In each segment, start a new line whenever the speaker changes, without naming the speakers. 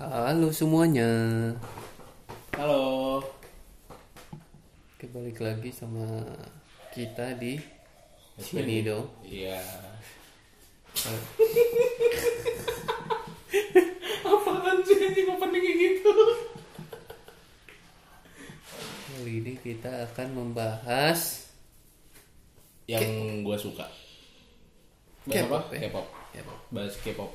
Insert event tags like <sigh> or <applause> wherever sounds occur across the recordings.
Halo semuanya.
Halo.
Oke, balik lagi sama kita di sini dong.
Iya. Apaan sih anjing opening kayak gitu?
Kali ini kita akan membahas
Yang gua suka. Bahas
K-pop,
apa?
ya?
K-pop.
ya, Bang.
Bahas K-pop.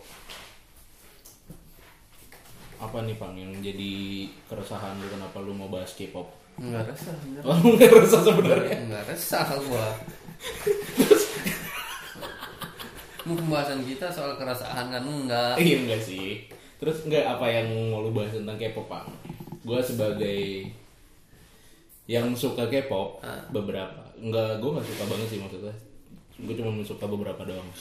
Apa nih Pang yang jadi keresahan lu kenapa lu mau bahas K-pop?
<laughs> nggak resah, nggak-
Oh, lu nggak resah sebenarnya.
nggak resah gua. Mau pembahasan kita soal keresahan kan enggak.
Iya enggak sih. Terus enggak apa yang mau lu bahas tentang K-pop, Pang? Gua sebagai yang suka K-pop beberapa. Enggak, gua enggak suka banget sih maksudnya. Gua cuma suka beberapa doang.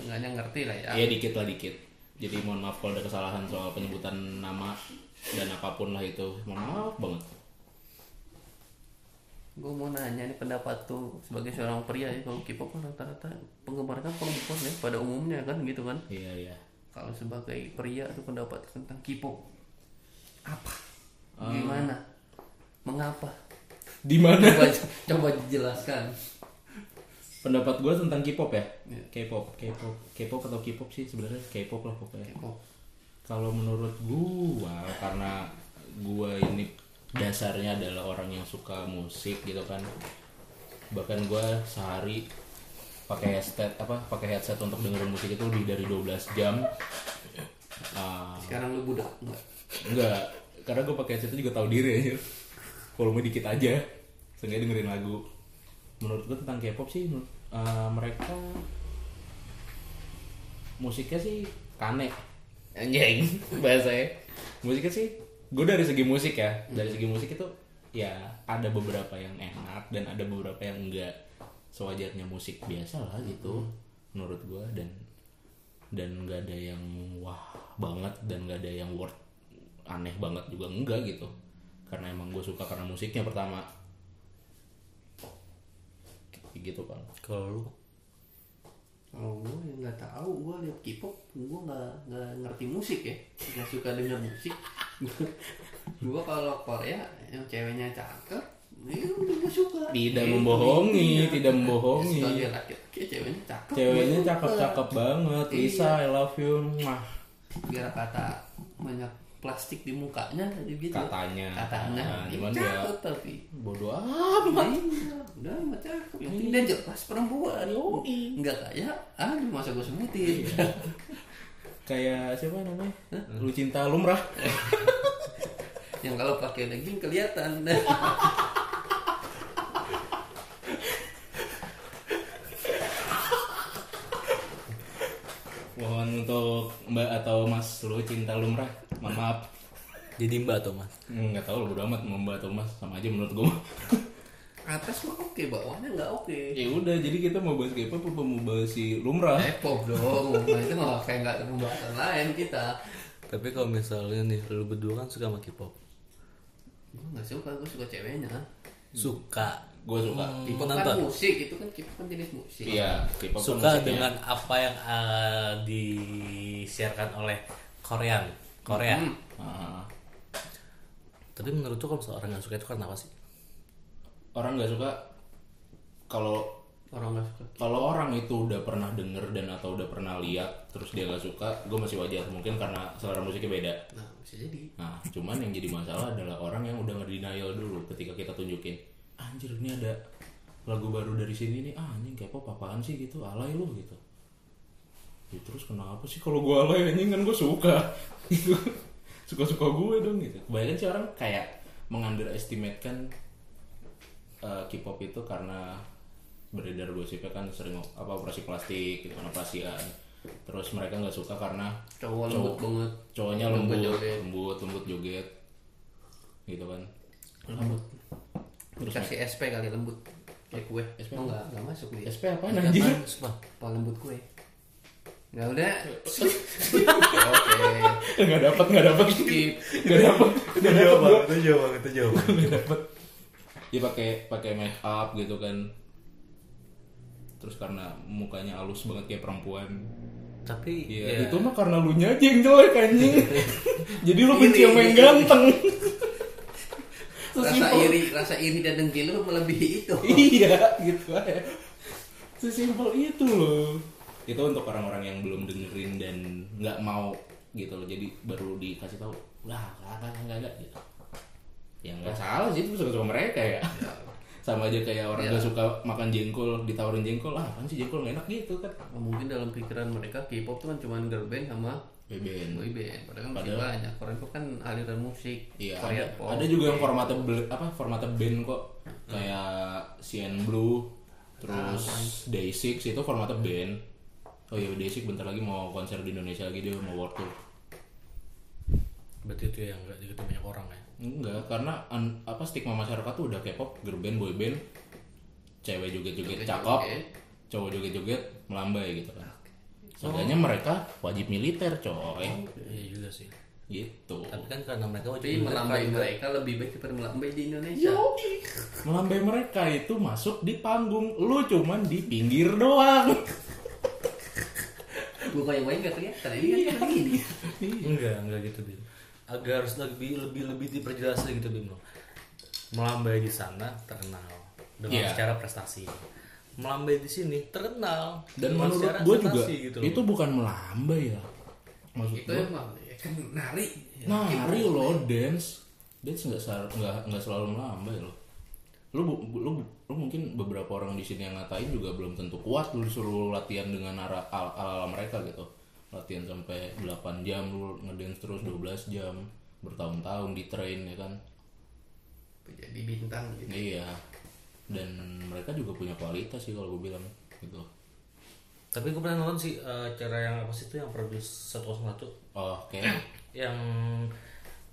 Enggaknya ngerti lah ya.
Iya dikit lah dikit. Jadi mohon maaf kalau ada kesalahan soal penyebutan nama dan apapun lah itu. Mohon maaf banget.
Gua mau nanya nih pendapat tuh sebagai seorang pria ya kalau K-pop kan rata-rata penggemarnya kan perempuan ya pada umumnya kan gitu kan.
Iya, iya.
Kalau sebagai pria tuh pendapat tentang K-pop Ah. apa? Gimana? Mengapa? <laughs>
Di mana?
Coba coba dijelaskan.
Pendapat gue tentang K-pop ya?
Iya.
K-pop, K-pop, K-pop atau K-pop sih sebenarnya K-pop lah pokoknya.
K-pop.
Kalau menurut gua karena gua ini dasarnya adalah orang yang suka musik gitu kan. Bahkan gua sehari pakai headset apa pakai headset untuk dengerin musik itu lebih dari 12 jam. Ah,
Sekarang lu budak enggak?
enggak, karena gua pakai headset itu juga tahu diri anjir. Volume dikit aja. Seenggaknya dengerin lagu. Menurut gua tentang K-pop sih menurut- ah, mereka musiknya sih kane anjing bahasanya musiknya sih gue dari segi musik ya dari segi musik itu ya ada beberapa yang enak dan ada beberapa yang enggak sewajarnya musik biasa lah gitu menurut gue dan dan nggak ada yang wah banget dan nggak ada yang worth aneh banget juga enggak gitu karena emang gue suka karena musiknya pertama Kayak gitu kan
Kalau lu
Kalau gua yang nggak tahu, gua lihat K-pop, gua nggak nggak ngerti musik ya, nggak suka denger <laughs> musik. gua kalau Korea yang ceweknya cakep, ya udah gua suka.
tidak
Eh,
membohongi
iya.
tidak
Ya,
membohongi
Sebagai laki-laki ceweknya cakep.
Ceweknya
gua suka.
cakep-cakep
gitu?
banget.
Iya.
Lisa, I love you. Mah.
biar kata banyak plastik di mukanya tadi gitu
Katanya.
katanya
Nah,
Ih,
cuman
Iya.
cakep tapi
Bodoh amat.
Iya, udah mah cakep yang penting dia jelas perempuan
Yoi.
nggak kayak aduh masa gue
<laughs>
semutin
Kayak siapa namanya? Lu cinta lumrah.
yang kalau pakai legging
<laughs>
kelihatan
Mohon untuk Mbak atau Mas lu cinta lumrah. Mohon maaf.
jadi mbak atau mas?
Enggak tahu lu bodo amat mau Mbak atau Mas sama aja menurut
<laughs>
gua.
atas mah oke bawahnya nggak oke
ya udah, jadi kita mau bahas K-pop apa mau bahas si lumrah?
Eh?
Epop Eh, dong, nah, itu malah kayak nggak ada pembahasan lain kita.
Tapi kalau misalnya nih lu berdua kan suka sama K-pop.
Gue nggak suka, gue suka ceweknya.
Suka.
Gua suka.
Tipe
Kan
nonton.
musik itu kan kita kan jenis musik.
Iya, K-pop kan
Suka
musiknya.
dengan apa yang uh, disiarkan oleh Korean. Korea.
Hmm.
Ah.
Tapi menurut tuh kalau seorang nggak suka itu karena apa sih?
orang nggak suka kalau
Orang nggak suka.
kalau orang itu udah pernah denger dan atau udah pernah lihat terus dia nggak suka gue masih wajar mungkin karena selera musiknya beda
Nah, bisa jadi.
nah cuman yang jadi masalah adalah orang yang udah ngedenial dulu ketika kita tunjukin anjir ini ada lagu baru dari sini nih ah anjing K-pop apaan sih gitu alay lu gitu ya terus kenapa sih kalau gue alay anjing kan gue suka <laughs> suka suka gue dong gitu kebanyakan sih orang kayak mengunderestimate kan eh, K-pop itu karena beredar gosipnya kan sering apa operasi plastik gitu kan operasian terus mereka nggak suka karena
Cowok lembut banget.
cowoknya
Lembut
lembut
joget.
lembut lembut joget gitu kan lembut terus Ya,
Kasih SP kali lembut. Kayak kue.
SP
Oh enggak, enggak masuk nih.
SP apa anjir
Sumpah.
Apa lembut kue? Enggak
<laughs>
udah. Oke.
<laughs> nggak dapat nggak dapat
Skip.
<laughs> nggak dapat nggak dapat gua.
Itu jauh banget, itu jauh
dia pakai pakai make up gitu kan terus karena mukanya halus banget kayak perempuan
<laughs> tapi
Iya,
ya,
itu mah karena lu nya aja yang jelek <laughs> anjing. Jadi lu benci
Iri,
sama yang
iri.
<laughs> ganteng.
rasa
Sesimpel.
iri rasa iri dan dengki lu melebihi itu
Iya, gitu aja. Sesimpel itu loh. Itu untuk orang-orang yang belum dengerin dan nggak mau gitu loh. Jadi baru dikasih tahu, lah, kagak kagak kagak gitu. Ya nggak salah sih itu suka-suka mereka ya. Sama aja kayak orang nggak suka makan jengkol, ditawarin jengkol, ah kan sih jengkol nggak enak gitu kan.
mungkin dalam pikiran mereka K-pop tuh kan cuma girl band sama
Beben.
boyband padahal kan masih banyak Korea pop kan aliran musik
Iya,
Korea
ada,
pop
ada juga yang formatnya bel- apa formatnya band kok. Kayak CN Blue, terus Day6 itu formatnya band. Oh iya, Day6 bentar lagi mau konser di Indonesia lagi dia mau world tour.
berarti itu yang nggak diketahui banyak orang ya
Enggak, karena an- apa stigma masyarakat tuh udah K-pop, girl band, boy band, cewek joget-joget cakep, cowok joget-joget melambai gitu kan. Seenggaknya mereka wajib militer, coy.
iya juga sih
Gitu.
tapi kan karena mereka
tapi
wajib
melambai mereka lebih baik daripada melambai di Indonesia
Melambai mereka itu masuk di panggung, lu cuman di pinggir doang.
gue yang main gak kelihatan ini
Iya.
kan cuma gini
enggak enggak gitu bim agar harus lebih lebih lebih diperjelas gitu bim lo melambai di sana terkenal dengan
Iya.
secara prestasi melambai di sini terkenal
Dan
dengan
menurut
Iya, secara
gue juga
prestasi gitu loh.
itu bukan melambai ya. Maksud
itu
gue,
emang ya kan nari
Iya.
nah hari lo dance, dance nggak sel- nggak nggak selalu melambai lo. Lu, bu- bu- lu, bu- lu mungkin beberapa orang di sini yang ngatain juga belum tentu kuat lu disuruh latihan dengan ara ala, ala mereka gitu. Latihan sampai 8 jam lu ngedance terus 12 jam bertahun-tahun di train ya kan.
jadi bintang gitu
Iya. Dan mereka juga punya kualitas sih kalau gue bilang gitu.
tapi gue pernah nonton sih eh, acara yang apa sih itu yang produce 101
Oh,
<clears throat>
oke.
yang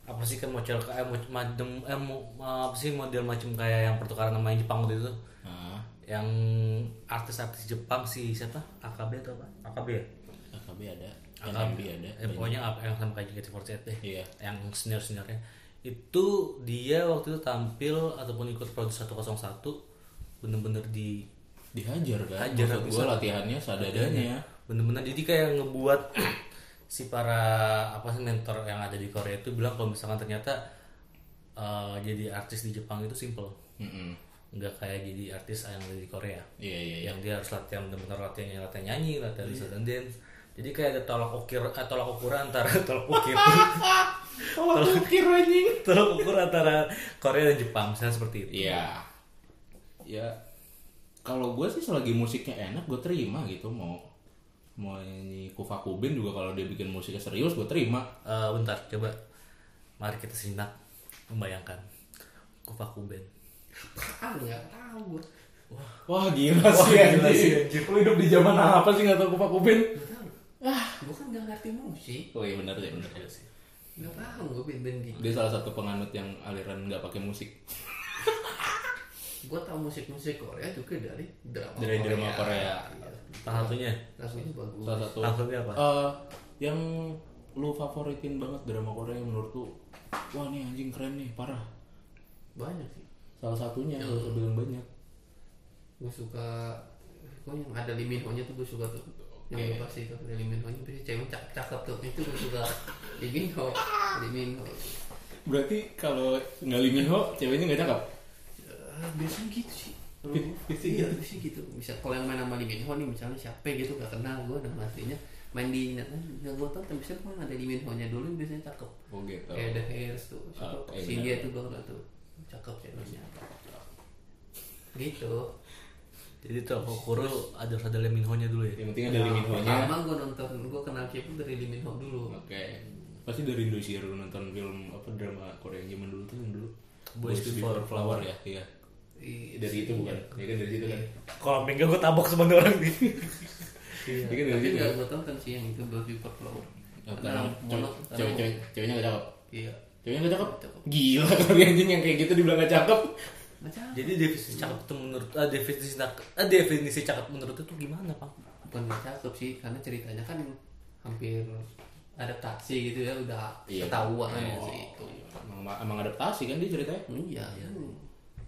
apa sih kan model kayak mo- madem eh, mo- apa sih model macam kayak yang pertukaran sama yang Jepang waktu itu
Nah,
yang artis-artis Jepang si siapa AKB atau apa AKB ya
AKB ada, NMB ada.
Eh, pokoknya apa yang sama kayak gitu, JKT48 deh
Iya.
eh, yang senior seniornya itu dia waktu itu tampil ataupun ikut produksi 101 bener-bener di
dihajar kan
Hajar
maksud gue latihannya sadadanya
bener-bener jadi kayak ngebuat <clears throat> si para apa sih mentor yang ada di Korea itu bilang kalau misalkan ternyata eh, jadi artis di Jepang itu simple
Mm-mm.
nggak kayak jadi artis yang ada di Korea
iya iya iya
yang dia harus latihan bener-bener latihan latihan nyanyi latihan yeah. dan dance jadi kayak ada tolak ukir eh, tolak ukur antara <laughs> tolak ukir
<laughs> kalau pikir anjing
tolak ukur antara Korea dan Jepang misalnya seperti itu Eh,
iya ya kalau gue sih selagi musiknya enak gue terima gitu mau mau nyanyi Kufa Kubin juga kalau dia bikin musiknya serius gue terima
Eh, bentar coba mari kita simak membayangkan Kupaku Band
ah nggak tahu gua.
wah gila sih
gila sih,
anjing lu hidup di zaman apa sih nggak tau Kufa Kubin
gua kan nggak ngerti musik
oh iya benar ya benar sih
nggak paham gua band-band gitu
dia salah satu penganut yang aliran nggak pakai musik
gua tahu musik-musik Korea juga dari drama
dari drama Korea
salah satunya
rasanya bagus
salah satu
salah satunya apa
Eh, yang lu favoritin banget drama Korea yang menurut lu wah nih anjing keren nih parah
banyak sih
salah satunya yang usah bilang banyak
gue suka gue yang ada limin nya tuh gue suka tuh yang gue pasti tuh ada limin nya bisa cewek cakep cakep tuh itu gue suka limin ho limin ho
berarti kalau nggak Lee Min Ho ceweknya nggak cakep
Ah, biasanya gitu sih Kalau gua. Iya, biasanya gitu bisa kalau yang main sama limin ho nih misalnya siapa gitu gak kenal gue nama aslinya main di net nggak gue tau tapi biasanya kan ada limin ho nya dulu yang biasanya cakep
oh gitu
kayak ada hairs tuh siapa
Ah, kayak
si
benar.
dia tuh gue nggak tuh cakep ceweknya gitu
jadi tolak ukur ada ada Leminho nya dulu ya
yang penting ada Lee Min Ho nya
Nah, Pertama gue nonton, gue kenal K-pop dari Lee Min Ho dulu.
oke pasti dari Indonesia lu nonton film apa drama Korea yang zaman dulu tuh yang dulu
Boys Before
Flower ya iya
Iya.
dari itu bukan ya kan dari situ kan
kalau enggak gue tabok sama nih orang nih
ya kan dari
iya, Tapi
situ
nggak Nah,
kan?
gue tonton sih yang itu Blood Report Flower.
Oh,
Karena
karena
mono,
cewek-
karena
cewek- cewek- ceweknya nggak cakep
iya.
ceweknya nggak cakep gila <laughs> kali anjing yang kayak gitu dibilang nggak cakep
Macam
jadi definisi cakep itu menurut ah, definisi cakep ah, definisi cakep menurut itu gimana pak
bukan nggak cakep sih, karena ceritanya kan hampir adaptasi gitu ya udah
Iya.
ketahuan
Oh.
sih itu.
emang, emang adaptasi kan dia ceritanya
Iya.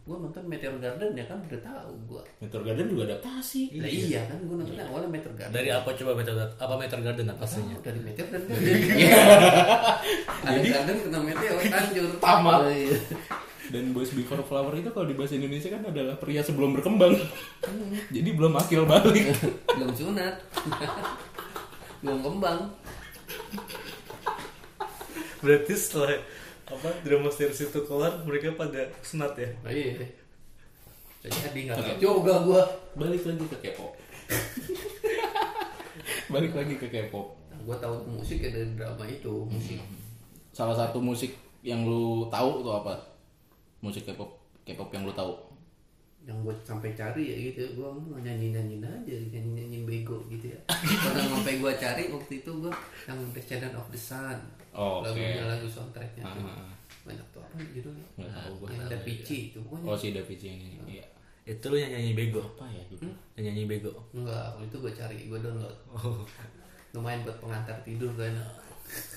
gue nonton Meteor Garden ya kan udah tahu gue
Meteor Garden juga adaptasi
Lah iya kan gue nontonnya awalnya Meteor Garden
Dari apa coba Meter apa Meter Garden atasnya?
Oh, dari meteor dan garden. Ada garden kena meteor hancur.
Tamat.
Oh, iya.
Dan Boys Before Flower itu kalau di bahasa Indonesia kan adalah pria sebelum berkembang <laughs> Jadi belum akil balik
Belum sunat. <laughs> Belum kembang.
Berarti setelah apa drama series itu keluar mereka pada senat ya?
Oh, iya. Jadi nggak tahu yoga gue.
<laughs> Balik lagi ke K-pop <laughs> Balik lagi ke K-pop
gue tahu musik ya dari drama itu musik.
Salah satu musik yang lu tahu tuh apa? Musik K-pop K-pop yang lu tahu
yang gue sampai cari ya gitu gue nyanyi nyanyiin aja nyanyi nyanyiin bego gitu ya karena sampai gue cari waktu itu gue yang Descendant of the Sun
Oh, oke.
lagunya lagu soundtracknya tuh
Ah.
banyak tuh apa judulnya
Nggak tahu gua.
yang ada pici itu pokoknya
Oh si David yang ini Iya
Itu lu yang nyanyi bego.
Apa ya gitu?
Yang nyanyi bego.
enggak waktu itu gue cari gue download
Oh.
lumayan buat pengantar tidur kan
Ah.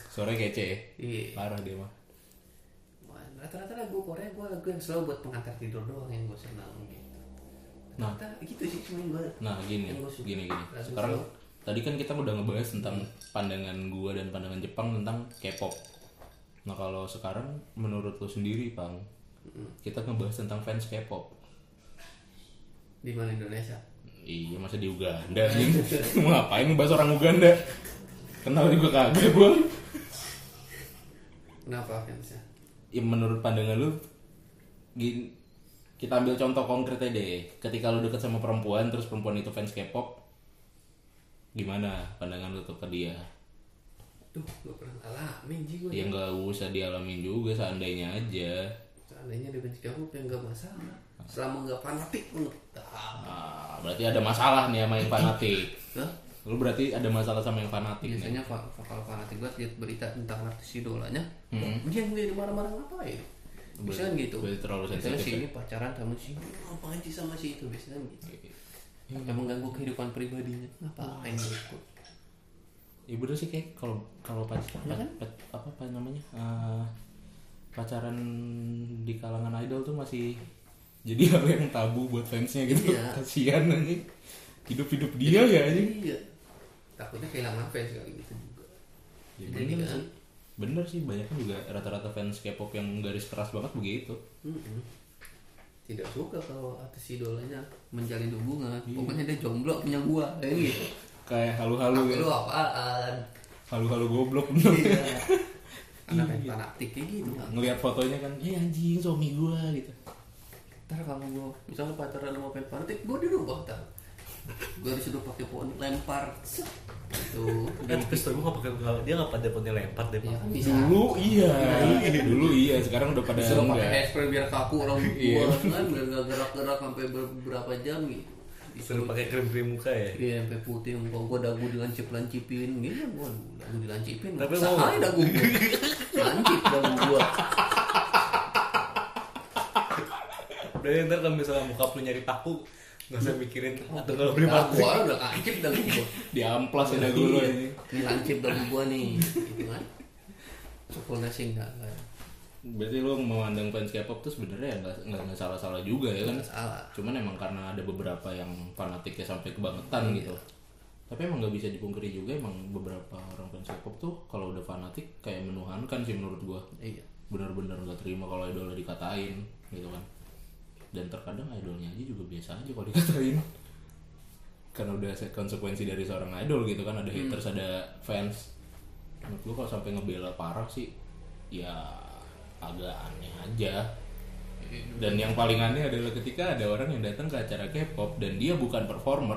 Sore kece ya?
iya
Parah dia mah
Wah, rata-rata lagu Korea gue lagu yang selalu buat pengantar tidur doang yang gue senang gitu
Nah.
rata gitu sih cuman gue
Nah gini,
Yang gua suka.
gini gini.
Lagu
Sekarang
slow.
tadi kan kita udah ngebahas tentang pandangan gua dan pandangan Jepang tentang K-pop. Nah kalau sekarang menurut lo sendiri, Pang, kita ngebahas tentang fans K-pop.
di mana Indonesia
Iya masa di Uganda sih? <laughs> Mau ngapain ngebahas orang Uganda? Kenal juga kagak gua.
kenapa fansnya
Ya, menurut pandangan lu, gini, kita ambil contoh konkretnya deh. Ketika lu deket sama perempuan, terus perempuan itu fans K-pop, gimana pandangan lu tuh ke dia?
Duh, gue pernah ngalamin sih gue.
Ya nggak usah dialamin juga seandainya aja.
Seandainya di benci kamu, ya nggak masalah. Selama nggak fanatik banget. Ah,
Ah, berarti ada masalah nih sama yang fanatik.
Hah?
Lu berarti ada masalah sama yang fanatik nih.
Biasanya fa- fa- kalau fanatik banget lihat berita tentang artis idolanya, dia yang dia marah-marah ngapain? Bisa kan gitu.
berarti terlalu
Biasanya
sensitif ya?
si ini pacaran sama si ini, ngapain sih sama si itu? Biasanya gitu. Yang mengganggu kehidupan pribadinya, ngapain ikut?
Ya bener sih kayak kalau kalau
Iya kan?
pacaran apa apa namanya? eh, pacaran di kalangan idol tuh masih jadi <laughs> hal yang tabu buat fansnya gitu.
Iya.
Kasihan anjing. Hidup-hidup dia ya anjing.
Iya. Takutnya kehilangan fans kali gitu juga.
Ya,
Jadi
bener,
kan-
sih. bener sih banyak kan juga rata-rata fans K-pop yang garis keras banget begitu.
Mm-mm. Tidak suka kalau artis idolanya menjalin hubungan. Pokoknya dia jomblo punya gua, kayak gitu.
Kayak halu-halu ya.
Lu apaan?
halu-halu goblok
Iya.
bener
Anak yang fanatik kayak gitu.
ngelihat fotonya kan eh anjing suami gua gitu
Ntar kalau gua misalnya pacaran sama fans fanatik, gua di rumah ntar. Gua disuruh pakai pohon lempar. Set. Tuh.
Iya.
Eh tapi setelah gue gak pakai dia gak pada punya lempar deh
Ya
pak.
kan bisa.
dulu iya dulu iya sekarang udah pada
Disuruh pakai
enggak
hairspray biar kaku orang
Iya.
gua kan biar nggak gerak-gerak sampai beberapa jam gitu.
Disuruh pakai krim krim muka ya.
Iya, sampai putih yang gua dagu dilancip-lancipin gitu gua dagu dilancipin.
Tapi mau-
sehari dagu gua. Lancip dagu gua.
Udah ya, ntar kalau misalnya muka lu nyari paku Gak usah mikirin atau gak beli
Nah,
paku
gua udah lancip dagu gua.
di amplas ya dagu
Iya.
lu ini
Ini lancip dagu gua nih, gitu kan. Syukurnya sih enggak enggak
berarti lu memandang fans K-pop tuh sebenarnya ya nggak nggak nggak salah-salah juga ya kan
enggak salah.
cuman emang karena ada beberapa yang fanatiknya sampai kebangetan gitu tapi emang nggak bisa dipungkiri juga emang beberapa orang fans K-pop tuh kalau udah fanatik kayak menuhankan sih menurut gua
Iya.
benar-benar nggak terima kalau idolnya dikatain gitu kan dan terkadang idolnya aja juga biasa aja kalau dikatain karena udah se- konsekuensi dari seorang idol gitu kan ada haters ada fans menurut gua kalau sampai ngebela parah sih ya agak aneh aja dan yang paling aneh adalah ketika ada orang yang datang ke acara K-pop dan dia bukan performer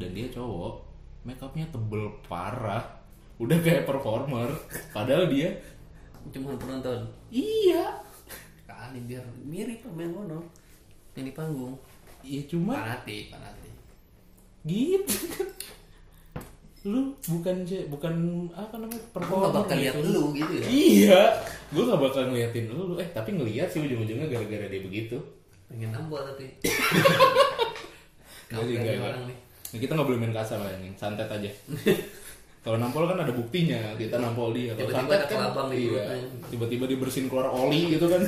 dan dia cowok makeupnya tebel parah udah kayak performer padahal dia
Cuma penonton.
Iya.
Kali biar mirip sama yang ngono. Yang di panggung.
Ya cuma
Fanatik, fanatik.
gitu kan. Lu bukan ce- bukan apa namanya
Aku nggak bakal lihat
gitu.
lu gitu ya.
Iya, gue gak bakal ngeliatin lu. Eh tapi ngeliat sih ujung-ujungnya gara-gara dia begitu.
Pengen nambah tapi.
Nggak
Kamu
sih, nggak,
dari
nggak.
orang nih.
Nah, kita nggak boleh main kasar lah ini, santet aja.
<laughs>
Kalau nampol kan ada buktinya, kita nampol dia. Kalau
Tiba-tiba
santet kan
ada kelabang di
iya,
perutnya. <laughs>
tiba-tiba dia bersin keluar oli gitu kan.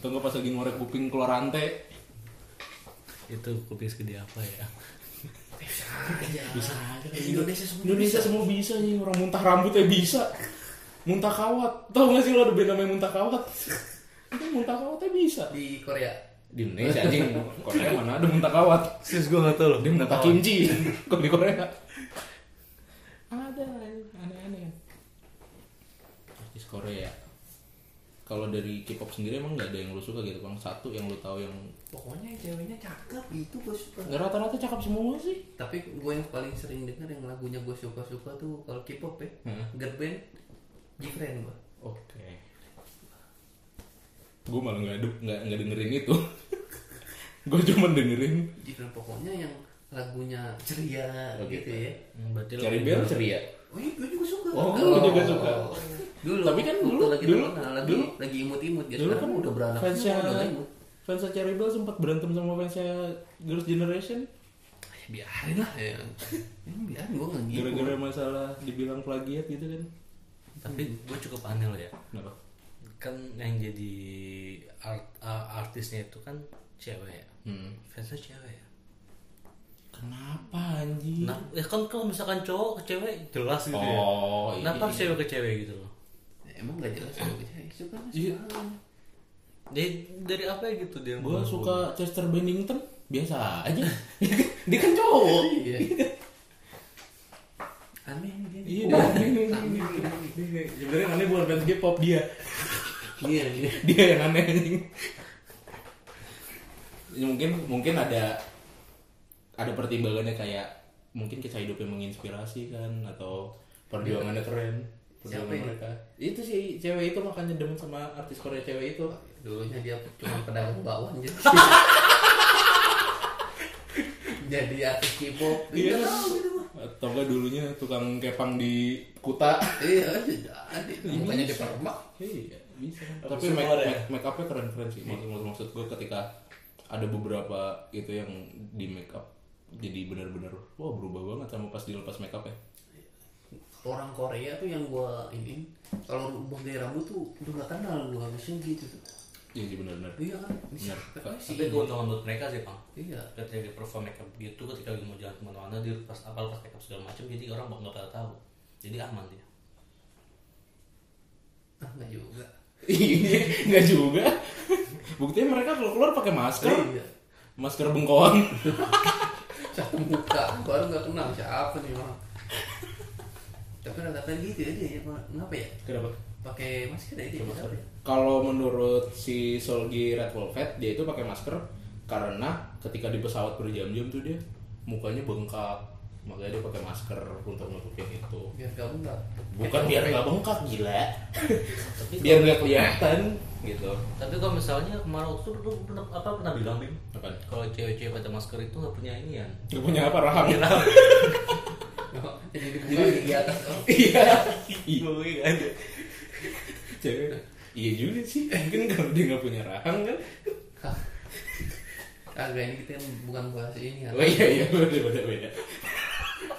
atau enggak pas lagi ngorek kuping keluar rantai
itu kuping segede apa ya
bisa aja kan Indonesia semua Indonesia semua bisa nih orang muntah rambutnya bisa muntah kawat tau gak sih lo ada band namanya muntah kawat itu muntah kawatnya bisa
di Korea
di Indonesia anjing Korea mana ada muntah kawat
serius gue gak tau loh
dia muntah kimchi kok di Korea ada aneh-aneh artis Korea kalau dari K-pop sendiri emang nggak ada yang lu suka gitu bang satu yang lu tahu yang
pokoknya yang ceweknya cakep itu gue suka
nggak rata-rata cakep semua sih
tapi gue yang paling sering denger yang lagunya gue suka suka tuh kalau K-pop ya
Heeh.
girl band Jfriend gue
Oke. Gue malah nggak ada- nggak nggak dengerin itu. <laughs> gue cuma dengerin
Jfriend pokoknya yang lagunya ceria
Oh,
gitu
gitu.
ya
Hmm, berarti lo
cari bel ceria.
oh iya gue juga suka
Oh, lu juga suka.
dulu
Tapi kan
waktu
dulu-
lagi
dulu-
terkenal, lagi
dulu-
lagi imut-imut dia
Dulu
sekarang
kan
udah beranak
fansnya
semua, udah imut
fansnya cari bel sempat berantem sama fansnya Girls Generation
Ya, biarin lah ya Emang biarin gue nggak gitu
gara-gara masalah dibilang plagiat gitu kan.
tapi gue cukup aneh loh ya
Kenapa?
kan yang jadi art, a- artisnya itu kan cewek ya
Hmm.
fansnya cewek ya
Kenapa anjing?
nah ya kan kalau misalkan cowok ke cewek jelas gitu
Oh, iya,
ya kenapa harus
iya.
cewek ke cewek gitu loh
Ya, emang gak jelas kalau gue cari suka lah,
Eh. Iya.
suka lah.
dari dari apa ya gitu dia
Gue suka Chester Bennington biasa aja. <laughs> dia kan cowok.
Iya. aneh dia
Iya,
Oh,
dia aneh.
aneh.
nah, Sebenarnya aneh bukan fans K-pop dia.
iya iya
dia yang aneh anjing Ya, mungkin mungkin ada ada pertimbangannya kayak mungkin kisah hidupnya menginspirasi kan atau perjuangannya keren perjuangan
Siapa ini?
mereka itu sih cewek itu makanya demen sama artis Korea cewek itu
dulunya dia cuma pedagang bakwan
<laughs>
aja jadi artis K-pop
Iya.
Nggak tahu gitu mah.
atau enggak dulunya tukang kepang di kuta
iya jadi mukanya di permak
iya bisa
Apa
tapi
sih,
make,
keluar ya?
make, make upnya keren keren sih maksud maksud, maksud gue ketika ada beberapa itu yang di make up jadi benar-benar wah berubah banget sama pas dilepas make up ya
orang Korea tuh yang gua ini kalau rubah gaya rambut tuh udah gak kenal lu harusnya gitu tuh
Iya sih benar-benar.
iya kan bisa
Bener.
Katanya sih
tapi keuntungan buat mereka sih bang
iya
ketika dia perform makeup gitu ketika dia mau jalan kemana-mana dia pas apa lepas makeup segala macam jadi orang nggak pada tahu jadi aman dia
ah nggak juga
Iya, nggak juga. Buktinya mereka kalau keluar pakai masker,
iya
masker bengkoang.
satu muka baru nggak kenal siapa nih orang tapi rata-rata gitu aja ya Pak. kenapa ya
Kenapa?
pakai masker aja masker ya?
Kalau menurut si Solgi Red Velvet, dia itu pakai masker karena ketika di pesawat berjam-jam tuh dia mukanya bengkak, makanya dia pakai masker untuk nutupin itu.
biar gak enggak
Bukan biar <laughs> nggak bengkak gila, biar nggak kelihatan gitu.
tapi kalau misalnya kemarin waktu itu lu pernah apa pernah bilang bim
Apa?
kalau cewek-cewek pada masker itu nggak punya ini ya
Gak punya apa rahang?
jadi dibuka di atas oh.
Iya.
<laughs> iya ada
Cewek. Iya juga sih. Mungkin kalau dia nggak punya rahang kan
Hah. kagak ini kita kan bukan bahas ini ya
Oh iya iya beda beda beda.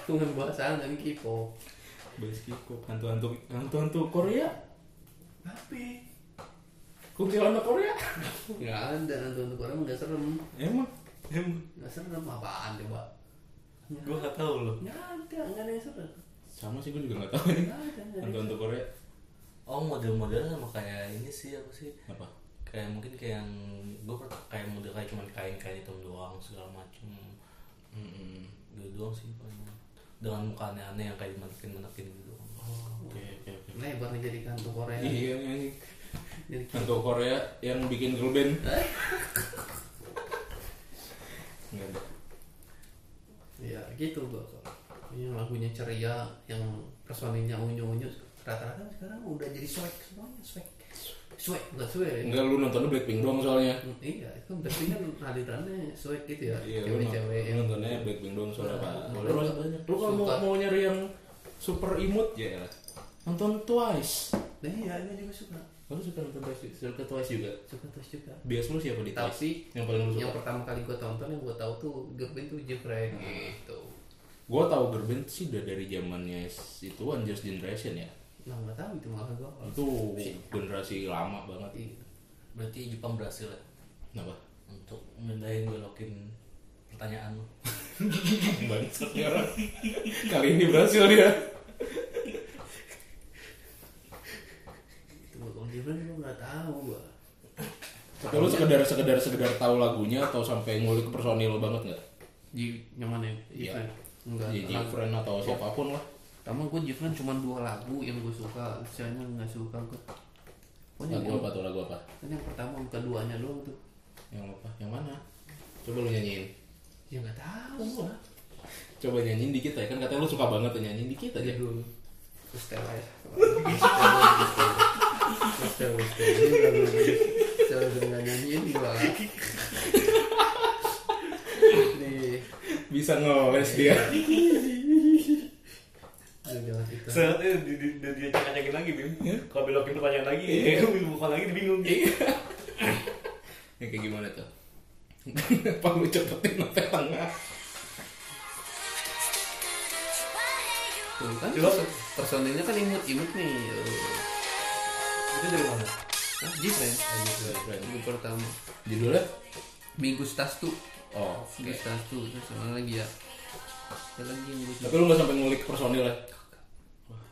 bukan bahas anak ini K-pop
Bahas K-pop hantu-hantu hantu-hantu Korea.
tapi
Kuntilanak Korea.
nggak ada nanti untuk orang nggak serem
Emang
nggak serem apaan coba
gue nggak tahu loh
nggak ada nggak ada yang serem
sama sih gue juga nggak tahu nih.
nggak ada nggak ada
Hantu-hantu Korea
oh model-model sama kayak ini sih apa sih
apa?
kayak mungkin kayak yang gue pernah kayak model kayak cuman kain-kain hitam doang segala macam
Mm-mm.
gitu doang sih paling dengan muka aneh-aneh yang kayak dimanekin-manekin gitu doang
Oke oke oke.
lebar nih jadi kantor Korea
Iya anjing.
jadi
Hantu Korea yang bikin girl band. Nggak ada.
ya gitu gua kalau yang lagunya ceria yang personilnya unyu unyu rata-rata sekarang udah jadi swag semuanya swag swag bukan swag ya.
Enggak lu nontonnya Blackpink doang soalnya.
Hmm, iya itu berarti kan alirannya swag gitu ya
Iya lu
cewek-cewek
nonton-
yang
nontonnya Blackpink doang soalnya pak.
Nah,
Lu-
boleh banyak.
Lu kalau mau
Suka.
mau nyari yang super imut ya elah. nonton Twice.
nah iya gue juga suka
Lu suka nonton Twice? Suka Twice juga?
suka terus juga
Bias lu siapa di Twice?
tapi
Yang paling lu
yang
suka?
pertama kali gue tonton yang gue tahu tuh Gerben tuh Jeffrey
Nah.
gitu
Gue tau girl band sih udah dari zamannya itu One Just Generation ya.
nah nggak tahu itu malah gue
Itu generasi lama banget.
Iya.
Berarti Jepang berhasil ya
Kenapa? <laughs>
untuk mindahin belokin pertanyaan lu.
Bangsat nih orang. Kali ini berhasil dia.
Itu Bang Gibran gue nggak tahu gua.
Tapi lu sekedar sekedar sekedar tahu lagunya atau sampai ngulik ke personil banget nggak?
Ji yang mana?
Iya.
Jifren. Enggak.
Jadi
lagu.
friend atau siapapun lah.
Pertama gue Jifren cuma dua lagu yang gue suka, sisanya nggak suka gue. Pokoknya
Lagu
yang-
apa tuh lagu apa?
Kan yang pertama bukan duanya doang tuh.
Yang apa? Yang mana? Coba lu nyanyiin.
Ya nggak tahu lah.
Coba nyanyiin dikit ya kan katanya lu suka banget tuh nyanyiin dikit aja.
dulu. Terus Stella ya. Terus Stella, terus Stella. Ini lagu lagi. Stella udah nggak nyanyiin gua. Nih,
<laughs> Bisa ngeles <laughs> dia.
aduh jangan kita.
Seharusnya di, di, di, dia nyanyakin lagi bim. Kalau belokin pertanyaan lagi, bukan lagi bingung.
Ya kayak gimana tuh? <laughs> Apa lu cepetin sampai tengah?
Tuh kan
Coba.
perso- personilnya kan imut-imut nih.
Itu dari mana?
Nah, Jifren. Lagu pertama.
Judulnya?
Minggu Stas tuh.
Oh.
Minggu Stas tuh. Terus sama lagi ya. Ada lagi Minggu Stas.
Tapi lu gak sampai ngulik personil ya? Wah,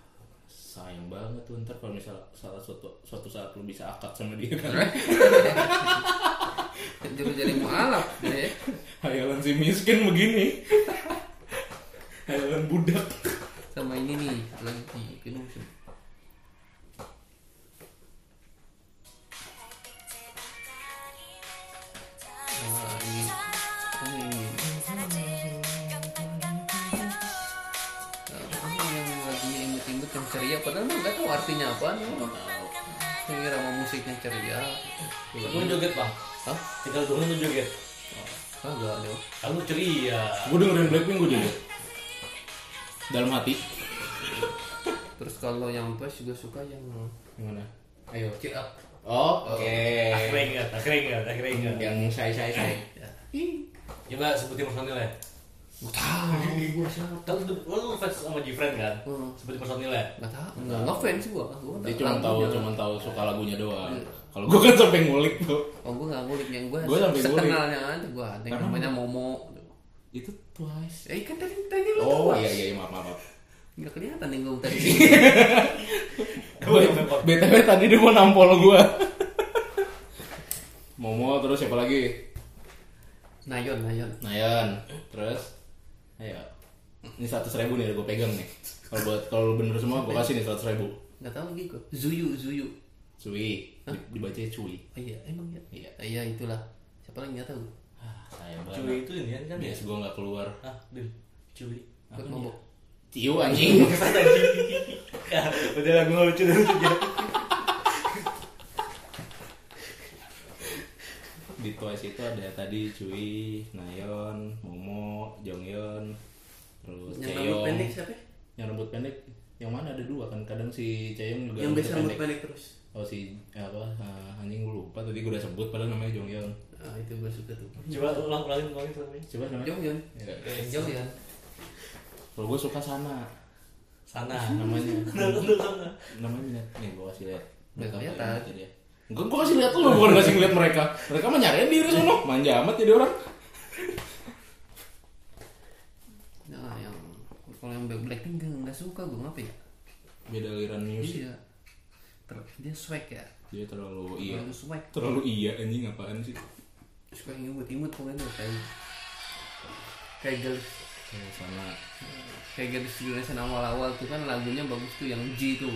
sayang banget tuh ntar kalau misalnya salah suatu suatu saat lu bisa akad sama dia kan
Juru jadi mualaf deh.
hayalan si miskin begini <laughs> hayalan budak
Sama ini nih lagi kena musim. Ah, ini. Kan ini. Apa yang lagunya imut-imut yang ceria padahal mah nggak tahu artinya apa nih Ini irama musiknya ceria
Lu joget bang.
Hah?
Tinggal dongeng lu joget.
Kagak dong
Kalau ceria.
gue dengerin Blackpink gue juga dalam hati
Terus kalau yang pas juga suka yang
gimana
Iya.
Ayo cheer up
oh, oke
Akhirnya ingat, akhirnya ingat, akhirnya ingat.
yang say say say
ya,
Coba sebutin personilnya.
Gak tau gue siapa
Kan lu lu fans sama Jifren kan?
Hmm.
Sebutin personilnya.
Gak tau Gak ngefans sih gue Gue
dia cuma tahu cuma tahu suka lagunya doang kalau gue kan sampai ngulik tuh
Oh gue gak ngulik yang gue
Gua sampai ngulik.
Sekenalnya aja gue Ada yang namanya Momo
itu twice
Eh kan tadi tadi lu
oh
tahu.
iya iya maaf maaf maaf.
Gak kelihatan nih gue tadi
<laughs> BTW tadi dia mau nampol gua. <laughs> Momo terus siapa lagi?
Nayon Nayon
Nayan. Terus ayo. Ini 100 ribu nih gue pegang nih. Kalau buat kalau lu bener semua gue kasih nih 100 ribu.
Gak tau lagi gue Zuyu Zuyu
Cuy, Di- dibaca cuy.
Oh iya emang ya
Iya.
Iya itulah Siapa lagi gak tau
Ah, sayang banget.
Cuy itu ini kan ya?
Bias gue nggak keluar.
Hah, Bim? Cuy.
Gue mabok
ya? Tiu anjing.
Ya, <laughs> udah lah gue lucu dan lucu.
<laughs> Di Twice itu ada tadi cuy, Nayon, Momo, Jongyeon, terus
Yang rambut
Chaeyoung.
pendek siapa ya?
Yang rambut pendek yang mana ada dua kan kadang si Chaeyoung juga
Yang biasa
rambutnya
rambut pendek terus
Oh si apa eh, anjing gue lupa tadi gue udah sebut padahal namanya Jongyeon.
Ah itu gue suka tuh Eh,
Coba ulang ulangin ulangin namanya.
Coba namanya.
Jongyeon
Ya.
Jongyeon
Kalau gue suka sana
Sana.
<laughs> namanya.
Sana sana.
namanya nih gue kasih lihat.
Nggak kelihatan.
Gue gue kasih lihat lu bukan kasih lihat mereka. Mereka mah nyariin diri sono. Manja amat jadi orang.
Nah yang kalau yang Black- Blackpink gak, gak suka gue ngapa ya?
Beda aliran news.
Iya. Ter- dia swag ya.
Dia terlalu iya.
Terlalu swag.
Terlalu iya anjing apaan sih?
Suka yang imut-imut pokoknya kayak kayak girls
Kayak sana.
kayak girls generation awal-awal tuh kan lagunya bagus tuh yang G tuh.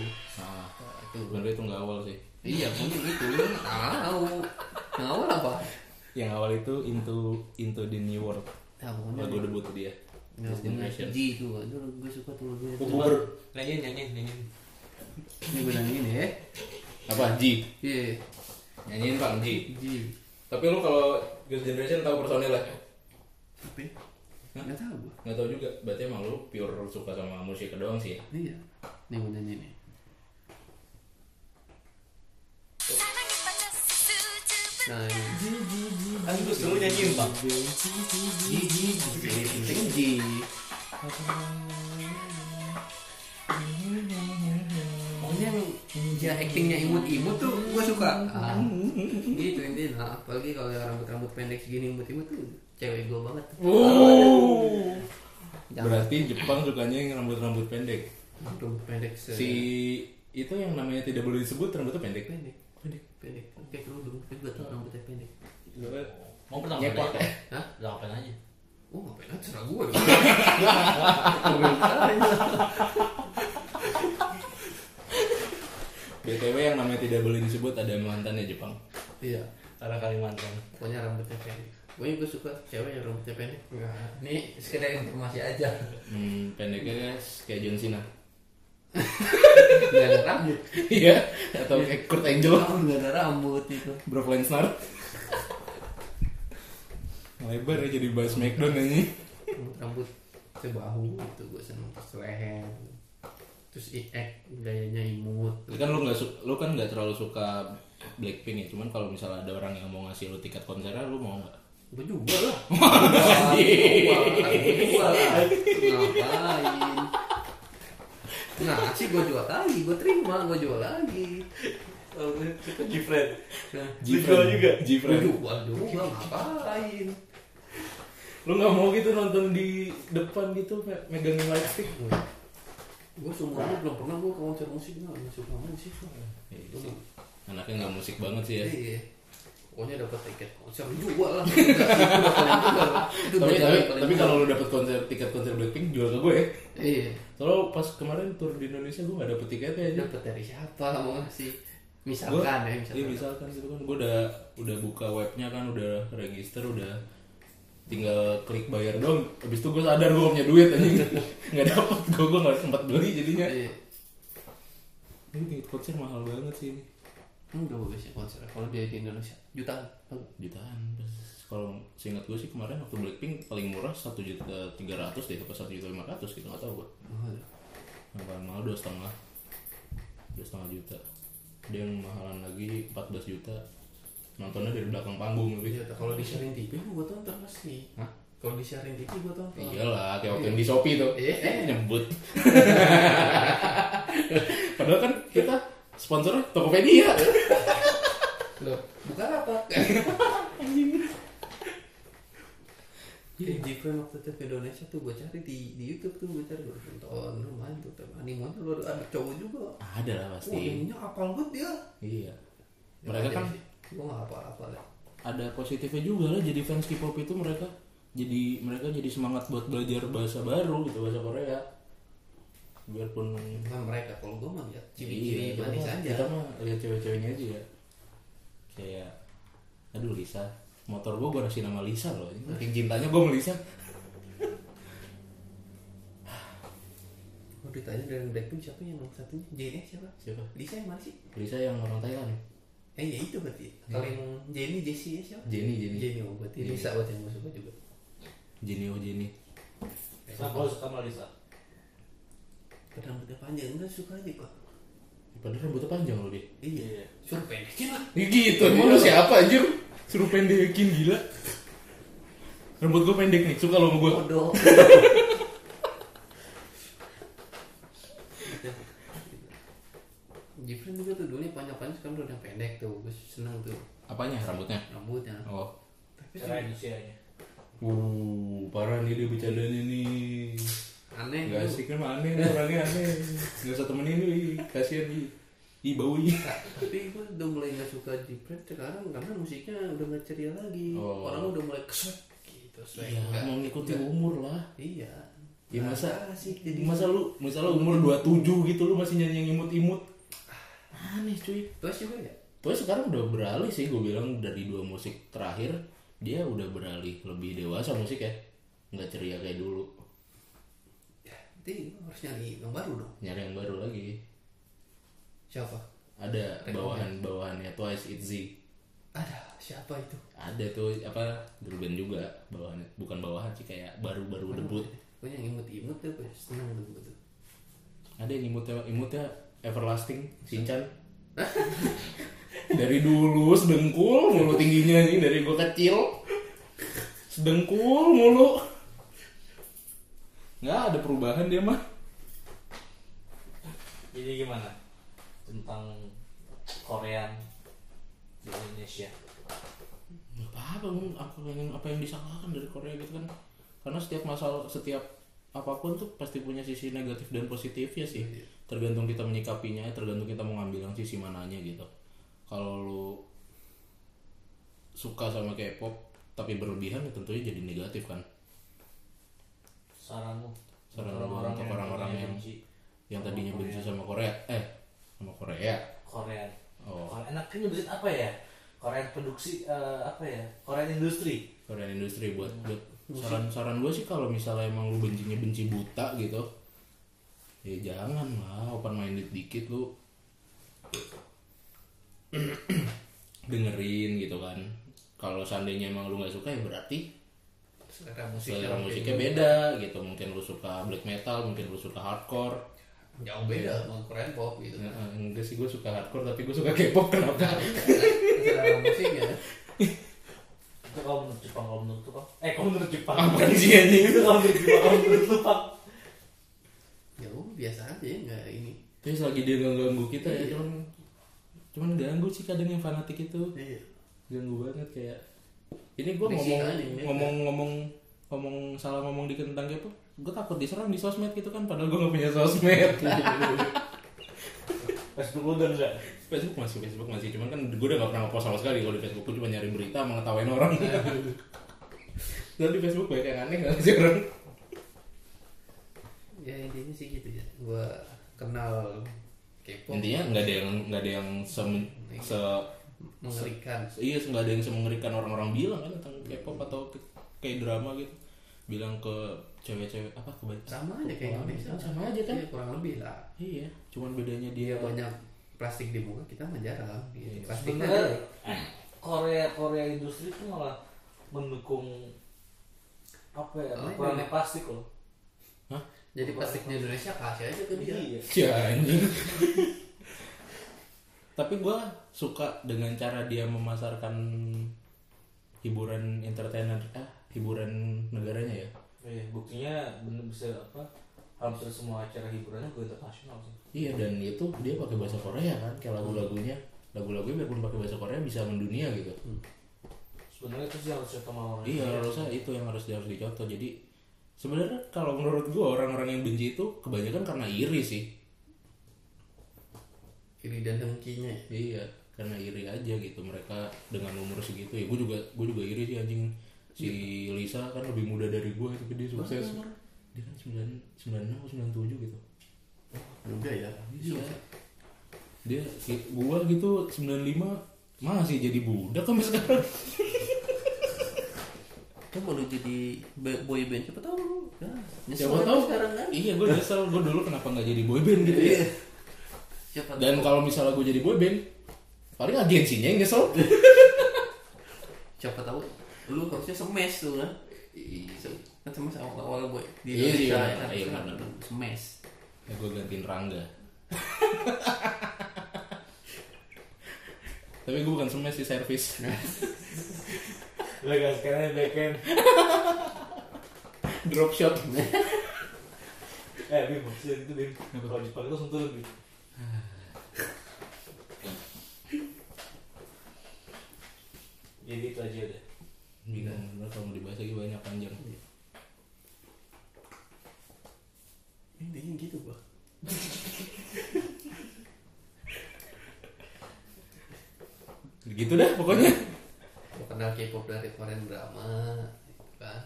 Nah,
Nah,
itu.
sebenarnya itu nggak awal sih.
Iya, pokoknya gitu. Lu nggak Tahu. Yang awal apa?
Yang awal itu into into the new world.
Nah, pokoknya
Lagu debut dia.
Nah,
Next
pokoknya
Generation.
G itu, itu gue suka tuh lagunya. tuh.
Coba.
Nyanyiin nyanyiin nyanyiin.
Ini gue nyanyiin ya.
Apa G?
Iya,
Nyanyiin Bang G.
G.
Tapi lu kalau Girls Generation tahu personil ya?
Apa? ya? Nggak tahu gue.
Nggak tahu juga. Berarti emang lu pure suka sama musik doang sih ya?
Iya. Nih gue nyanyiin nih. Nah, ini.
Kan gue suruh nyanyiin bang.
Gigi, gigi, Pokoknya yang ya actingnya imut-imut tuh gue suka ah, gitu intinya Nah, apalagi kalau yang rambut-rambut pendek segini imut-imut tuh cewek gue banget jangan
Berarti Jepang sukanya yang rambut-rambut pendek.
rambut pendek se
Si itu yang namanya tidak boleh disebut rambutnya pendek.
pendek pendek pendek oke kerudung tapi gue tau rambutnya pendek
Mau pertama
Nyepot
kali
ya?
aja? Hah? Udah ngapain aja?
Oh ngapain aja serah <laughs> gue dong Ngapain aja.
BTW yang namanya tidak boleh disebut ada mantannya Jepang.
Iya
Karena Kalimantan.
Pokoknya rambutnya pendek Pokoknya gue suka cewek yang rambutnya pendek Enggak Ini sekedar informasi <laughs> aja
Hmm, pendeknya kayak John Cena. <laughs>
Gak ada rambut
Iya, atau kayak Kurt Angle,
Oh gak ada rambut itu
Brock Lesnar. <laughs> Lebar ya jadi bahas Smackdown ini.
Rambut sebahu itu gue seneng Terus leher Terus iek gayanya imut
Kan lu nggak su- lu kan nggak terlalu suka Blackpink ya, cuman kalau misalnya ada orang yang mau ngasih lu tiket konsernya lu mau nggak?
Gue juga <laughs> lah Gue juga lah Ngapain Nah sih gue jual lagi Gue terima gue jual lagi
Kalau gue suka Jifred.
Nah
Jifren juga.
Gue
Jifren.
jual juga ngapain
Lu nggak mau gitu nonton di depan gitu kayak megangin lightstick?
gue seumurnya belum pernah gue ke konser musik nggak nggak suka main sih gua.
Iya sih. Anaknya nggak musik banget sih ya.
iya pokoknya dapat tiket konser juga lah <laughs> itu udah paling juga lah. itu
Tapi,
udah
tapi,
paling
tapi
juga.
kalau lu dapet konser tiket konser Blackpink jual ke gue ya.
iya
Soalnya pas kemarin tur di Indonesia gue gak dapet tiketnya aja.
dapat dari siapa mau ngasih
Gua-
misalkan ya
Iya
misalkan
misalkan gitu kan gue udah udah buka webnya kan udah register udah tinggal klik bayar dong habis itu gue sadar gue punya duit anjing <laughs> nggak dapet gue gue nggak sempat beli jadinya
iya
ini tiket konser mahal banget sih ini
Hmm, udah bagus ya konser kalau dia di Indonesia jutaan
jutaan Terus kalau seingat gue sih kemarin waktu Blackpink paling murah satu juta tiga ratus deh apa satu juta lima ratus gitu nggak tahu gue
mahal
yang paling mahal dua setengah dua setengah juta ada yang mahalan lagi 14 juta nontonnya dari belakang panggung
iya
lebih
kalau di sharing TV gue tonton pasti
Hah? Iya.
kalau di sharing TV gue tonton
iyalah kayak waktu yang di Shopee tuh
Iya.
eh nyebut <laughs> padahal kan kita sponsornya Tokopedia
Loh, bukan
<laughs>
apa? Jadi different Iya, waktu itu ke Indonesia tuh gue cari di, di YouTube tuh gue cari gue nonton lumayan tuh tapi anime tuh lu ada cowok juga.
ada lah
Wah,
pasti
ininya apal banget dia.
iya mereka kan
gue nggak apa-apa lah.
ada positifnya juga lah jadi fans K-pop itu mereka jadi mereka jadi semangat buat belajar bahasa baru gitu bahasa Korea biarpun
Bukan mereka kalau gue mah ya
Iya,
ciri-ciri
kita
manis
mah-
aja.
Kita mah lihat cewek-ceweknya aja ya. Kayak aduh Lisa, motor gua gua kasih nama Lisa loh. Ini Saking cintanya gua sama Lisa.
Kalau ditanya dari Blackpink siapa yang nomor satunya? JN siapa?
Siapa?
Lisa yang mana sih?
Lisa yang orang Thailand.
Eh ya itu berarti. Kalau yang Jennie Jessie ya siapa?
Jenny, Jenny.
Jennie oh, berarti
Jennie.
Lisa buat yang gue suka juga.
Jenny oh Jenny.
Kenapa lu suka sama Lisa?
Padahal rambutnya panjang enggak suka aja kok.
Padahal rambutnya panjang loh dia.
Iya. Suruh pendekin lah.
Ya gitu, emang lu siapa anjir? Suruh pendekin gila. Rambut gua pendek nih, suka lo sama gua.
<laughs> Bodoh. Jifren juga tuh dulunya panjang-panjang sekarang udah pendek tuh Gue seneng tuh
Apanya rambutnya?
rambutnya
Oh.
Tapi sih
Cara Indonesianya.
Uh, parah nih dia bercandanya nih.
aneh
Gak
tuh.
asik kan aneh nih orangnya aneh. Gak usah temenin lu, ih. kasihan ih. Ih bau ih.
Tapi gue udah mulai gak suka Jifren sekarang Karena musiknya udah gak ceria lagi
Oh.
Orang udah mulai keset gitu swag.
Iya,
Nggak-
mau ngikutin umur lah.
Iya
Ya masa
Nggak asik jadi
masa lu masa lu umur 27 gitu lu masih nyanyi yang imut-imut. Aneh cuy.
Terus juga ya
Tapi sekarang udah beralih sih gue bilang dari dua musik terakhir dia udah beralih lebih dewasa musik ya. Nggak ceria kayak dulu.
Nanti gua harus nyari yang baru dong
Nyari yang baru lagi.
Siapa?
Ada bawahan-bawahannya Twice Itzy.
Ada siapa itu?
Ada tuh apa girl band juga bawahannya. Bukan bawahan sih kayak baru-baru debut.
Gue yang imut-imut tuh gue seneng tuh gua tuh.
Ada yang imutnya imutnya everlasting, Shinchan. dari dulu sedengkul mulu tingginya ini dari gua kecil. Sedengkul mulu. Nggak ada perubahan dia mah.
Jadi gimana? tentang Korean di Indonesia?
nggak apa-apa Mun. apa yang apa yang disalahkan dari Korea gitu kan karena setiap masalah setiap apapun tuh pasti punya sisi negatif dan positifnya sih tergantung kita menyikapinya tergantung kita mau ngambil yang sisi mananya gitu kalau lu suka sama K-pop tapi berlebihan ya tentunya jadi negatif kan
Saranmu?
Saran orang untuk orang-orang yang-
benci
yang tadinya benci sama Korea eh sama Korea
Korean.
Oh.
Korean. Enaknya nyebutin apa ya? Korean produksi eh, apa ya? Korean industri.
Korean industri buat buat saran saran gue Iya. sih kalau misalnya emang lu bencinya benci buta gitu ya jangan lah open minded dikit lu <clears throat> dengerin gitu kan kalau seandainya emang lu nggak suka ya berarti
selera musik
selera musiknya beda gitu mungkin lu suka black metal mungkin lu suka hardcore
jauh beda sama Korean pop gitu
Ya, eh, enggak sih gue suka hardcore tapi gue suka K-pop kenapa
selera musiknya
Itu kalau menurut Jepang, kalau menurut lu, Pak? Eh, kalau menurut Jepang.
<laughs> Apaan sih, anjing?
<laughs> Itu kalau menurut Jepang, kalau menurut lu, Pak.
ya udah, biasa aja nggak ini
terus lagi dia nggak ganggu kita ya cuman cuman ganggu sih kadang yang fanatik itu
iya
ganggu banget kayak ini gue
Berisik
ngomong
aja, ya.
ngomong ngomong ngomong salah ngomong di tentang gitu gue takut diserang di sosmed gitu kan padahal gue gak punya sosmed
Facebook lu udah enggak?
<laughs> Facebook masih Facebook masih cuman kan gue udah gak pernah ngepost sama sekali kalau di Facebook gue cuma nyari berita sama ngetawain orang dan di Facebook banyak yang aneh gak sih orang
<laughs> ya intinya sih gitu ya gue kenal K-pop
intinya nggak ada yang nggak ada yang se, se
mengerikan
iya nggak ada yang semengerikan orang-orang bilang kan tentang K-pop atau kayak drama gitu bilang ke cewek-cewek apa ke
sama aja kayak Indonesia
sama aja kan
Iya, kurang lebih lah
Iya, cuman bedanya
dia
dia
banyak plastik di muka kita menjarang gitu.
Iya.
plastiknya
Sebenarnya
<laughs>
Korea Korea industri itu malah mendukung apa ya?
Oh,
Kurangnya
iya.
plastik loh.
Hah?
jadi plastiknya Indonesia kasih aja ke dia
Iya.
Ya anjing. <laughs> Tapi gue suka dengan cara dia memasarkan hiburan entertainer ah, hiburan negaranya ya.
Iya, buktinya bener bisa apa? Hampir semua acara hiburannya gue internasional sih.
Iya dan itu dia pakai bahasa Korea kan kayak lagu-lagunya lagu-lagunya biarpun pakai bahasa Korea bisa mendunia gitu.
Sebenarnya itu sih harusnya sama orang.
Iya harusnya itu yang harus harus dicontoh. Jadi sebenarnya kalau menurut gue orang-orang yang benci itu kebanyakan karena iri sih.
kiri dan dengkinya ya.
Iya, karena iri aja gitu mereka dengan umur segitu. Ya gue juga gue juga iri sih anjing. Si
Iya.
Lisa kan lebih muda dari gue tapi dia sukses. Dia kan 9 96 atau 97 gitu.
juga ya
Iya. Dia gue gitu 95 masih jadi budak sampai sekarang.
kan kalau jadi ba- boy band siapa tahu lu nah, nyesel
Ya. Siapa
kan
tahu
sekarang kan Iya.
Iya, gue nyesel gue dulu kenapa nggak jadi boyband gitu ya.
siapa tahu
Dan kalau misalnya gue jadi boyband, paling agensinya yang nyesel.
siapa tahu lu harusnya semes tuh kan kan semes awal awal boy di
Iya,
Indonesia
iya,
ya kan?
iya,
Kan
benar.
semes
Ya gue gantiin <laughs> Rangga Tapi gue bukan semes sih servis
Lah guys, sekarang backend.
Drop
<laughs>
shot
Eh, Bim, maksudnya itu Bim. Kalau Jepang itu sentuh lebih. Jadi itu Ya, gitu aja deh.
Bingung bener kalau mau dibahas lagi banyak panjang
intinya gitu gua
Gitu dah pokoknya
Gua kenal K-pop dari Korean drama gitu kan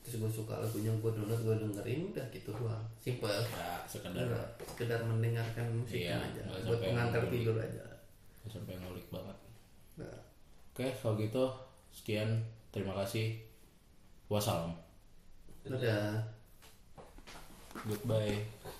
terus gue suka lagunya gue download gue dengerin udah gitu doang simple
Ya sekedar
sekedar sekedar mendengarkan musiknya
Iya,
aja
nggak
buat
sampai
pengantar
ngulik.
tidur aja
Gak Sampai ngulik banget
nah,
Oke kalau gitu Sekian Terima kasih Wassalam
udah
Goodbye